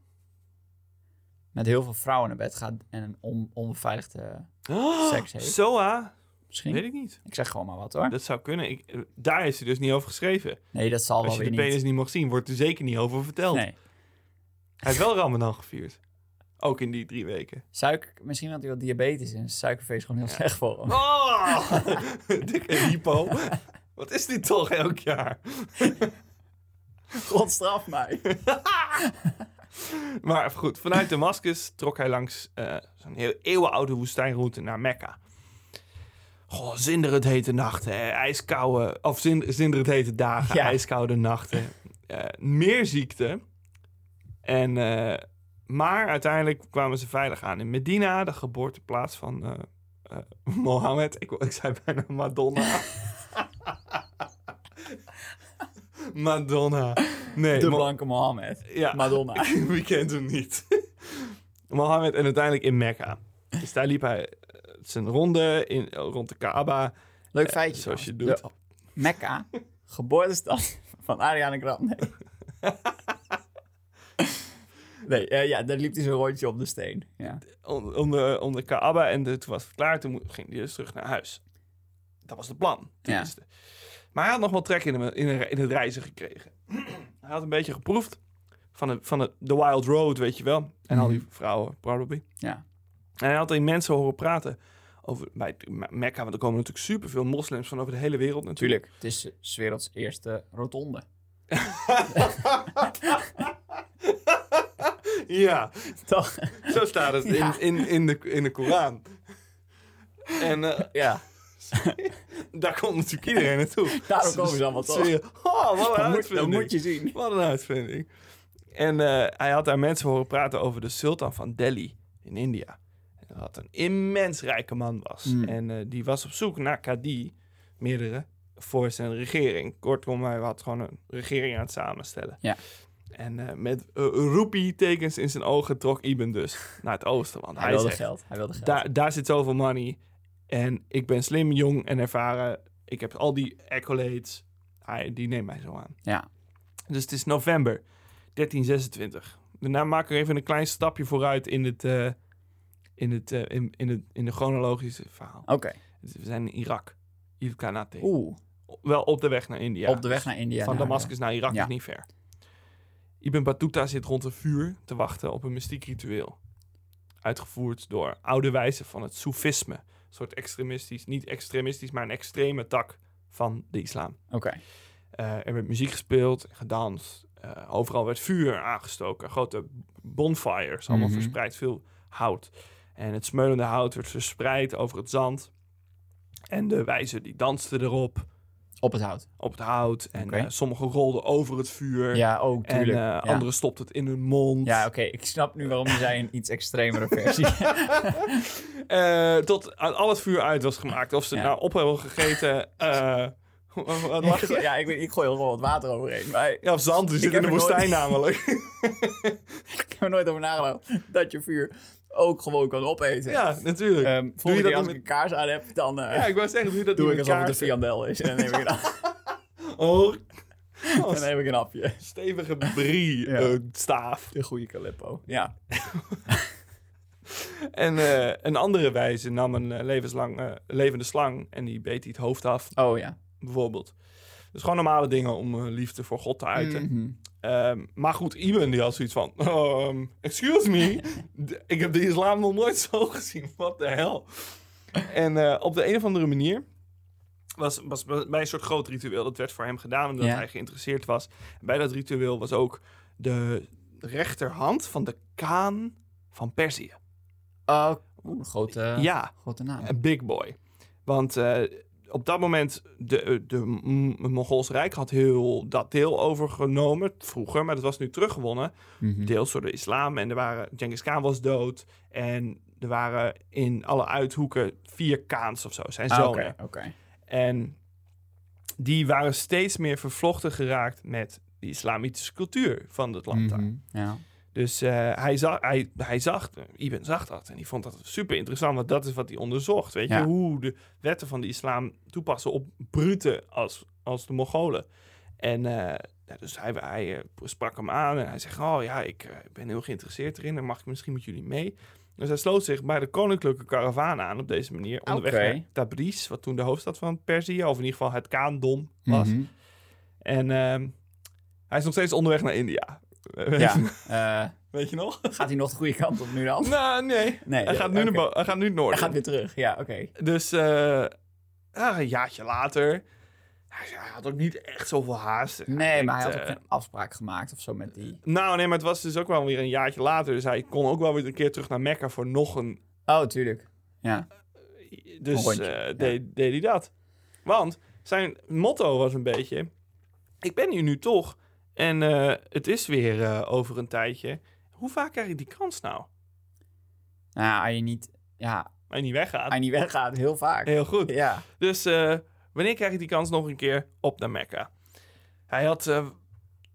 Speaker 2: met heel veel vrouwen naar bed gaat en een on- onbeveiligde
Speaker 1: Oh,
Speaker 2: seks heeft?
Speaker 1: Zoa?
Speaker 2: misschien?
Speaker 1: Weet ik niet.
Speaker 2: Ik zeg gewoon maar wat hoor.
Speaker 1: Dat zou kunnen. Ik, eh, daar heeft hij dus niet over geschreven.
Speaker 2: Nee, dat zal
Speaker 1: Als
Speaker 2: wel
Speaker 1: je
Speaker 2: weer
Speaker 1: de
Speaker 2: niet.
Speaker 1: penis niet. mag zien, wordt er zeker niet over verteld.
Speaker 2: Nee.
Speaker 1: Hij heeft wel Ramadan gevierd. Ook in die drie weken.
Speaker 2: Suiker, misschien had hij wel diabetes en suikervee is gewoon heel slecht voor hem.
Speaker 1: Oh! Dikke hypo. Wat is dit toch elk jaar?
Speaker 2: God straf mij.
Speaker 1: Maar goed, vanuit Damascus trok hij langs eh, zo'n heel eeuwenoude woestijnroute naar Mekka. Goh, zinderend hete nachten, hè. ijskoude... Of zin, zinderend hete dagen,
Speaker 2: Ja.
Speaker 1: ijskoude nachten. Eh, meer ziekte. En, eh, maar uiteindelijk kwamen ze veilig aan in Medina, de geboorteplaats van eh, eh, Mohammed. Ik, wou- ik zei bijna Madonna. Madonna. Nee,
Speaker 2: De
Speaker 1: Mo-
Speaker 2: blanke Mohammed.
Speaker 1: ja.
Speaker 2: Madonna.
Speaker 1: Wie kent hem niet? Mohammed en uiteindelijk in Mekka. Dus daar liep hij eh, zijn ronde in, eh, rond de Kaaba.
Speaker 2: Leuk feitje.
Speaker 1: zoals je
Speaker 2: trouwens. De- Mekka, geboortestad van Ariana Grande. Nee, eh, ja, daar liep hij zo'n rondje op de steen. Ja.
Speaker 1: Om, om, de, om de Kaaba en de, toen was het klaar. Toen mo- ging hij dus terug naar huis. Dat was het plan, tenminste. Maar hij had nog wel trek in, hem- in, een- in het reizen gekregen. hij had een beetje geproefd van, de, van de, de Wild Road, weet je wel. En al die vrouwen, probably.
Speaker 2: Ja.
Speaker 1: En hij had die mensen horen praten over bij Me- Mekka. Want er komen natuurlijk superveel moslims van over de hele wereld natuurlijk.
Speaker 2: Tuurlijk. Het is eh, 's werelds eerste rotonde.
Speaker 1: Ja,
Speaker 2: Toch?
Speaker 1: zo staat het
Speaker 2: Ja.
Speaker 1: in, in, in, de, in de Koran. En eh,
Speaker 2: Ja.
Speaker 1: daar komt natuurlijk iedereen naartoe.
Speaker 2: Daarom komen ze allemaal toch.
Speaker 1: Weer, Oh, wat een
Speaker 2: Dat moet, dat
Speaker 1: uitvinding.
Speaker 2: moet je zien.
Speaker 1: Wat een uitvinding. En eh, hij had daar mensen horen praten over de sultan van Delhi in India. wat een immens rijke man was.
Speaker 2: Mm.
Speaker 1: En eh, die was op zoek naar Kadi, meerdere, voor zijn regering. Kortom, hij had gewoon een regering aan het samenstellen.
Speaker 2: Ja.
Speaker 1: En eh, met eh, roepie-tekens in zijn ogen trok Ibn dus naar het oosten. Want
Speaker 2: Hij,
Speaker 1: hij,
Speaker 2: wilde
Speaker 1: zegt,
Speaker 2: geld. Hij wilde geld.
Speaker 1: daar, daar zit zoveel money. En ik ben slim, jong en ervaren. Ik heb al die accolades. Hij, die neemt mij zo aan.
Speaker 2: Ja.
Speaker 1: Dus het is november 1326. Daarna maken we even een klein stapje vooruit in het, eh, in het, eh, in, in het in de chronologische verhaal.
Speaker 2: Oké.
Speaker 1: Dus We zijn in Irak. Ilkhanate.
Speaker 2: Oeh.
Speaker 1: Wel op de weg naar India.
Speaker 2: Op de weg naar India.
Speaker 1: Van
Speaker 2: naar de-
Speaker 1: Damascus naar Irak
Speaker 2: Ja.
Speaker 1: is niet ver. Ibn Battuta zit rond een vuur te wachten op een mystiek ritueel. Uitgevoerd door oude wijzen van het soefisme. Een soort extremistisch, niet extremistisch, maar een extreme tak van de islam.
Speaker 2: Oké.
Speaker 1: Eh, er werd muziek gespeeld, gedanst. eh, overal werd vuur aangestoken. Grote bonfires, allemaal
Speaker 2: Mhm.
Speaker 1: verspreid. Veel hout. En het smeulende hout werd verspreid over het zand. En de wijzen die dansten erop,
Speaker 2: Op het hout.
Speaker 1: op het hout. En
Speaker 2: Oké.
Speaker 1: eh, sommigen rolden over het vuur.
Speaker 2: Ja, ook
Speaker 1: en eh
Speaker 2: tuurlijk. ja.
Speaker 1: anderen stopten het in hun mond.
Speaker 2: Ja, oké. Ik snap nu waarom je zei een iets extremere versie.
Speaker 1: Eh, tot aan al het vuur uit was gemaakt. Of ze
Speaker 2: Ja.
Speaker 1: nou op hebben gegeten. eh, wat mag je?
Speaker 2: ja, ik, weet, ik gooi er gewoon wat water overheen. Maar ik
Speaker 1: Ja, of zand. Die zit in
Speaker 2: heb
Speaker 1: de
Speaker 2: er nooit-
Speaker 1: woestijn namelijk.
Speaker 2: heb er nooit over nagedacht dat je vuur ook gewoon kan opeten.
Speaker 1: ja, natuurlijk.
Speaker 2: Ehm,
Speaker 1: Doe je
Speaker 2: volgende
Speaker 1: dat
Speaker 2: keer als
Speaker 1: dan
Speaker 2: ik een kaars aan heb, dan eh,
Speaker 1: Ja, ik wou zeggen, doe je dat
Speaker 2: doe
Speaker 1: niet
Speaker 2: ik
Speaker 1: met
Speaker 2: alsof het een
Speaker 1: kaarsen?
Speaker 2: viandel is. En dan neem ik een,
Speaker 1: Oh,
Speaker 2: dan neem ik een hapje.
Speaker 1: stevige brie
Speaker 2: Ja.
Speaker 1: eh, staaf.
Speaker 2: De goede Calippo. Ja.
Speaker 1: En eh, een andere wijze nam een eh, levenslang, eh, levende slang en die beet hij het hoofd af,
Speaker 2: Oh ja.
Speaker 1: bijvoorbeeld. Dus gewoon normale dingen om eh, liefde voor God te uiten.
Speaker 2: Mhm.
Speaker 1: Ehm, maar goed, Iben die had zoiets van, ehm, excuse me, d- ik heb de islam nog nooit zo gezien, what the hell. En eh, op de een of andere manier was, was bij een soort groot ritueel, dat werd voor hem gedaan omdat
Speaker 2: Ja.
Speaker 1: hij geïnteresseerd was. Bij dat ritueel was ook de rechterhand van de Kaan van Perzië.
Speaker 2: Oh, oeh, een grote,
Speaker 1: Ja,
Speaker 2: grote naam.
Speaker 1: een big boy. Want eh, op dat moment, de, de M- Mongoolse Rijk had heel dat deel overgenomen vroeger, maar dat was nu teruggewonnen.
Speaker 2: Mhm.
Speaker 1: deels door de islam. En er waren, Genghis Khan was dood. En er waren in alle uithoeken vier Kaans of zo, zijn
Speaker 2: Ah,
Speaker 1: zonen.
Speaker 2: Oké, oké.
Speaker 1: En die waren steeds meer vervlochten geraakt met de islamitische cultuur van het land daar.
Speaker 2: Mhm. Ja.
Speaker 1: Dus eh, hij, zag, hij, hij zag, Ibn zag dat en die vond dat super interessant, want dat is wat hij onderzocht. Weet je,
Speaker 2: Ja.
Speaker 1: hoe de wetten van de islam toepassen op bruten als, als de Mongolen. En eh, ja, dus hij, hij eh, sprak hem aan en hij zegt, oh ja, ik eh, ben heel geïnteresseerd erin en mag ik misschien met jullie mee? Dus hij sloot zich bij de koninklijke karavaan aan op deze manier, onderweg
Speaker 2: Oké.
Speaker 1: naar Tabriz, wat toen de hoofdstad van Perzië, of in ieder geval het Kaandom was.
Speaker 2: Mhm.
Speaker 1: En ehm, hij is nog steeds onderweg naar India.
Speaker 2: Ja. Eh,
Speaker 1: Weet je nog?
Speaker 2: gaat hij nog de goede kant op nu dan?
Speaker 1: Nou, nee.
Speaker 2: Nee.
Speaker 1: Hij
Speaker 2: ja,
Speaker 1: gaat nu, naar
Speaker 2: oké.
Speaker 1: bo- hij gaat nu het
Speaker 2: Hij
Speaker 1: noorden.
Speaker 2: gaat weer terug. Ja, oké.
Speaker 1: Dus eh, ah, een jaartje later. Hij, hij had ook niet echt zoveel haast.
Speaker 2: Nee, maar
Speaker 1: denkt,
Speaker 2: hij had ook
Speaker 1: eh,
Speaker 2: een afspraak gemaakt of zo met die.
Speaker 1: Nou, nee, maar het was dus ook wel weer een jaartje later. Dus hij kon ook wel weer een keer terug naar Mekka voor nog een.
Speaker 2: Oh, tuurlijk. Ja.
Speaker 1: Dus
Speaker 2: Een rondje,
Speaker 1: eh,
Speaker 2: ja.
Speaker 1: deed, deed hij dat. Want zijn motto was een beetje: Ik ben hier nu toch. En eh, het is weer eh, over een tijdje. Hoe vaak krijg ik die kans nou?
Speaker 2: Nou, als je niet, ja,
Speaker 1: Maar niet weggaat.
Speaker 2: als je niet weggaat, heel vaak.
Speaker 1: Heel goed.
Speaker 2: Ja.
Speaker 1: Dus eh, wanneer krijg ik die kans nog een keer op naar Mekka? Hij had eh,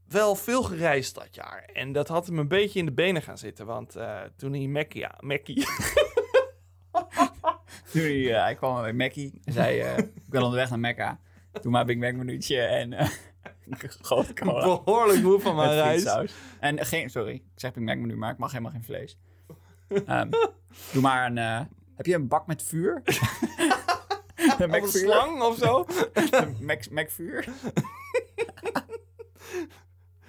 Speaker 1: wel veel gereisd dat jaar. En dat had hem een beetje in de benen gaan zitten. Want eh, toen hij Mekkia... Mekkie...
Speaker 2: Toen hij, eh, hij kwam bij Mackie en zei, eh, ik ben onderweg naar Mekka. Doe maar Big Mac minuutje en eh grote cola.
Speaker 1: behoorlijk moe van mijn
Speaker 2: Met
Speaker 1: reis.
Speaker 2: frietsaus. En geen, sorry, ik zeg Big Mac menu, maar ik mag helemaal geen vlees. Ehm, doe maar een, eh, heb je een bak met vuur? een
Speaker 1: Of een
Speaker 2: Mac-vuur?
Speaker 1: slang of zo.
Speaker 2: Een Mac- Mac-vuur?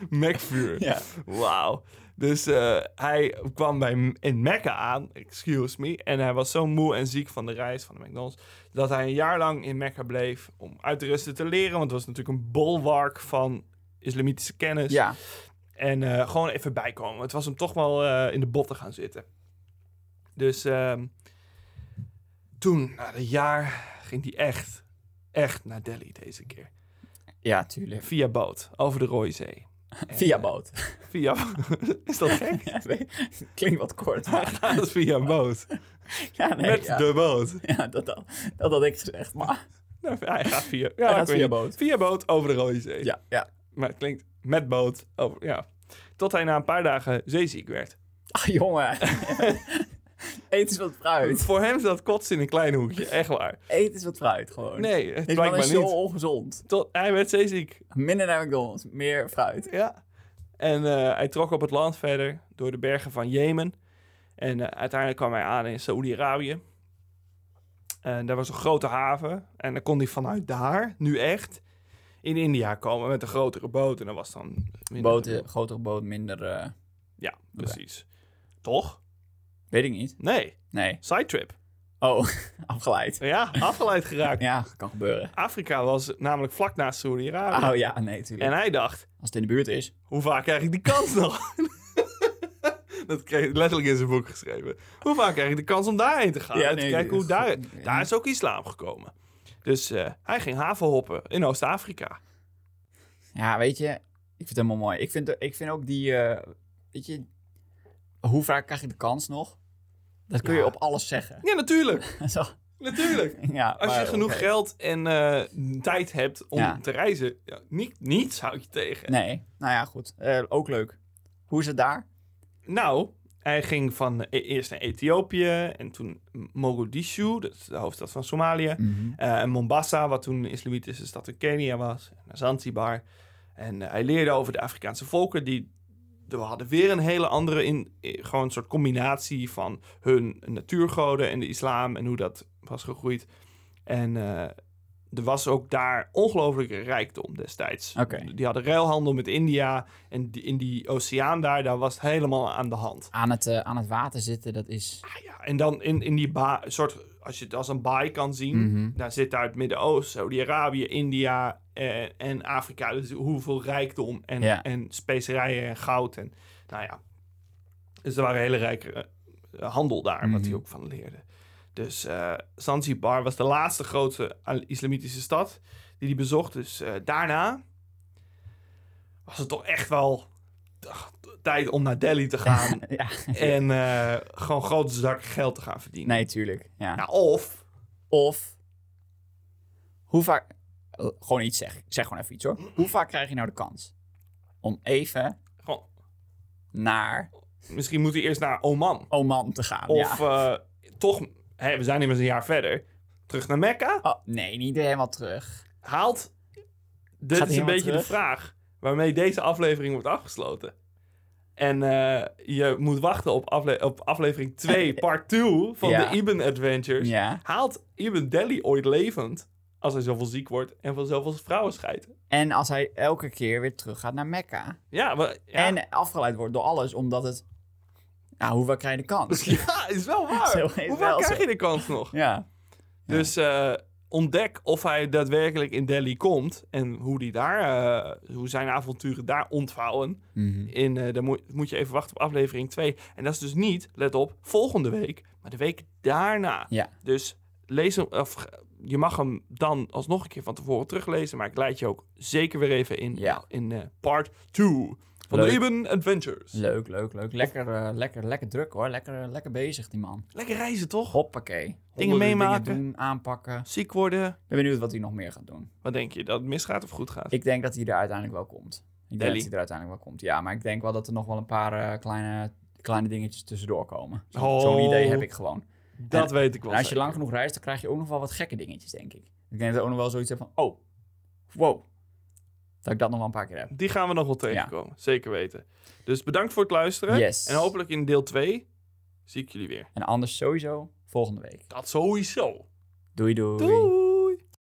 Speaker 1: Mekvuur.
Speaker 2: Ja.
Speaker 1: Wauw. Dus eh, hij kwam bij M- in Mekka aan, excuse me. En hij was zo moe en ziek van de reis van de McDonald's. dat hij een jaar lang in Mekka bleef. om uit de rusten te leren. Want het was natuurlijk een bolwerk van islamitische kennis.
Speaker 2: Ja.
Speaker 1: En eh, gewoon even bijkomen. Het was hem toch wel eh, in de botten gaan zitten. Dus ehm, toen, na een jaar, ging hij echt, echt naar Delhi deze keer.
Speaker 2: Ja, tuurlijk.
Speaker 1: Via boot, over de Rooizee.
Speaker 2: Via boot.
Speaker 1: Via... is dat gek?
Speaker 2: Ja, weet- Klinkt wat kort. maar-
Speaker 1: Dat is via een boot.
Speaker 2: ja, nee,
Speaker 1: Met
Speaker 2: ja.
Speaker 1: de boot.
Speaker 2: Ja, dat, dat, dat had ik gezegd. Maar
Speaker 1: Nou, hij gaat via... Ja,
Speaker 2: Hij
Speaker 1: ik
Speaker 2: gaat
Speaker 1: weet
Speaker 2: via
Speaker 1: niet.
Speaker 2: boot.
Speaker 1: Via boot over de Rode Zee.
Speaker 2: ja, ja.
Speaker 1: Maar het klinkt met boot. Oh, ja. Tot hij na een paar dagen zeeziek werd.
Speaker 2: Ach, jongen. Eet eens wat fruit.
Speaker 1: Voor hem is dat kotsen in een klein hoekje. Echt waar.
Speaker 2: Eet eens wat fruit gewoon.
Speaker 1: Nee, het
Speaker 2: Dit man
Speaker 1: blijkbaar
Speaker 2: is zo
Speaker 1: niet.
Speaker 2: ongezond.
Speaker 1: Tot, hij werd zeeziek.
Speaker 2: Minder naar McDonald's, meer fruit.
Speaker 1: Ja. En eh, hij trok op het land verder door de bergen van Jemen. En eh, uiteindelijk kwam hij aan in Saoedi-Arabië. En daar was een grote haven. En dan kon hij vanuit daar, nu echt, in India komen met een grotere boot. En dat was dan... minder-
Speaker 2: Boten, grotere boot, minder... eh,
Speaker 1: Ja, precies. Toch?
Speaker 2: weet ik niet.
Speaker 1: Nee.
Speaker 2: Nee.
Speaker 1: Sidetrip.
Speaker 2: Oh, afgeleid.
Speaker 1: Ja, afgeleid geraakt.
Speaker 2: Ja, kan gebeuren.
Speaker 1: Afrika was namelijk vlak naast Saoedi-Arabië.
Speaker 2: Oh ja, nee, tuurlijk.
Speaker 1: En hij dacht,
Speaker 2: Als het in de buurt is.
Speaker 1: hoe vaak krijg ik die kans nog? dat kreeg hij letterlijk in zijn boek geschreven. Hoe vaak krijg ik de kans om daarheen te gaan?
Speaker 2: Ja,
Speaker 1: En te
Speaker 2: nee,
Speaker 1: kijken hoe
Speaker 2: goed.
Speaker 1: daar... Daar is ook islam gekomen. Dus eh, hij ging havenhoppen in Oost-Afrika.
Speaker 2: Ja, weet je, ik vind het helemaal mooi. Ik vind, ik vind ook die, eh, weet je, hoe vaak krijg je de kans nog? Dat kun je
Speaker 1: Ja.
Speaker 2: op alles zeggen.
Speaker 1: Ja, natuurlijk.
Speaker 2: Zo,
Speaker 1: natuurlijk.
Speaker 2: ja,
Speaker 1: Als je
Speaker 2: maar,
Speaker 1: genoeg
Speaker 2: oké.
Speaker 1: geld en eh, tijd hebt om
Speaker 2: Ja.
Speaker 1: te reizen, ja, niet, niets houd je tegen.
Speaker 2: Nee, nou ja, goed. Eh, ook leuk. Hoe is het daar?
Speaker 1: Nou, hij ging van eh, eerst naar Ethiopië en toen Mogadishu, dat is de hoofdstad van Somalië. Eh, en Mombasa, wat toen de islamitische stad in Kenia was. Naar Zanzibar. En eh, hij leerde over de Afrikaanse volken. Die, we hadden weer een hele andere, in, eh, gewoon een soort combinatie van hun natuurgoden en de islam en hoe dat was gegroeid. En eh, er was ook daar ongelooflijke rijkdom destijds.
Speaker 2: Oké.
Speaker 1: Die hadden ruilhandel met India. En die, in die oceaan daar, daar was het helemaal aan de hand.
Speaker 2: Aan, het, eh, aan het water zitten, dat is...
Speaker 1: Ah ja, en dan in, in die ba soort, als je het als een baai kan zien,
Speaker 2: Mhm.
Speaker 1: daar zit uit het Midden-Oosten, Saudi-Arabië, India eh, en Afrika. Dus hoeveel rijkdom en,
Speaker 2: Ja.
Speaker 1: en specerijen en goud. En, nou ja, dus er waren hele rijke eh, handel daar, wat
Speaker 2: Mhm.
Speaker 1: hij ook van leerde. Dus eh, Zanzibar was de laatste grote al- islamitische stad die hij bezocht. Dus eh, daarna was het toch echt wel ach, tijd om naar Delhi te gaan.
Speaker 2: ja,
Speaker 1: En eh, gewoon grote zak geld te gaan verdienen.
Speaker 2: nee, tuurlijk. Ja.
Speaker 1: Nou, of
Speaker 2: Of, hoe vaak... eh, gewoon iets zeggen. Ik Zeg gewoon even iets, hoor. Hoe vaak krijg je nou de kans? Om even
Speaker 1: gewoon,
Speaker 2: naar
Speaker 1: misschien moet hij eerst naar Oman.
Speaker 2: Oman te gaan. ja.
Speaker 1: Of eh, toch, hè, we zijn immers een jaar verder. Terug naar Mekka.
Speaker 2: Oh, nee, niet helemaal terug.
Speaker 1: Haalt. Dit
Speaker 2: Gaat
Speaker 1: is
Speaker 2: hij
Speaker 1: een beetje
Speaker 2: helemaal
Speaker 1: de vraag waarmee deze aflevering wordt afgesloten. En eh, je moet wachten op, afle- op aflevering 2, part 2 van
Speaker 2: Ja.
Speaker 1: de Ibn Adventures.
Speaker 2: Ja.
Speaker 1: Haalt Ibn Delhi ooit levend als hij zoveel ziek wordt en van zoveel vrouwen scheidt?
Speaker 2: En als hij elke keer weer terug gaat naar Mekka.
Speaker 1: Ja, maar, ja.
Speaker 2: En afgeleid wordt door alles, omdat het... Nou, hoe vaak krijg je de kans?
Speaker 1: Ja, is wel
Speaker 2: Zo
Speaker 1: waar.
Speaker 2: is
Speaker 1: Hoe
Speaker 2: wel
Speaker 1: vaak krijg
Speaker 2: zo.
Speaker 1: je de kans nog?
Speaker 2: Ja.
Speaker 1: Dus eh, ontdek of hij daadwerkelijk in Delhi komt en hoe, die daar, eh, hoe zijn avonturen daar ontvouwen. In, eh dan moet, moet je even wachten op aflevering 2. En dat is dus niet, let op, volgende week, maar de week daarna.
Speaker 2: Ja.
Speaker 1: Dus lees hem, of eh, je mag hem dan alsnog een keer van tevoren teruglezen, maar ik leid je ook zeker weer even in,
Speaker 2: Ja.
Speaker 1: in eh, part 2 van de
Speaker 2: Leuk.
Speaker 1: Ibn Adventures.
Speaker 2: Leuk, leuk, leuk. Lekker, eh, lekker, lekker druk hoor. Lekker, eh, lekker bezig die man.
Speaker 1: Lekker reizen toch?
Speaker 2: Hoppakee. Honderden
Speaker 1: meemaken.
Speaker 2: doen, aanpakken.
Speaker 1: Ziek worden.
Speaker 2: Ik ben benieuwd wat hij nog meer gaat doen.
Speaker 1: Wat denk je, dat het misgaat of goed gaat?
Speaker 2: Ik denk dat hij er uiteindelijk wel komt.
Speaker 1: Delhi.
Speaker 2: Ik denk dat hij er uiteindelijk wel komt. Ja, maar ik denk wel dat er nog wel een paar eh, kleine, kleine dingetjes tussendoor komen. Zo- Zo'n
Speaker 1: Oh.
Speaker 2: idee heb ik gewoon.
Speaker 1: dat weet ik wel.
Speaker 2: En als je
Speaker 1: zeker.
Speaker 2: lang genoeg reist, dan krijg je ook nog wel wat gekke dingetjes, denk ik. Ik denk dat ik ook nog wel zoiets heb van, oh, wow. Dat ik dat nog wel een paar keer heb.
Speaker 1: Die gaan we nog wel tegenkomen. Zeker weten. Dus bedankt voor het luisteren.
Speaker 2: Yes.
Speaker 1: En hopelijk in deel 2 zie ik jullie weer.
Speaker 2: En anders sowieso volgende week.
Speaker 1: Dat sowieso.
Speaker 2: Doei doei.
Speaker 1: Doei.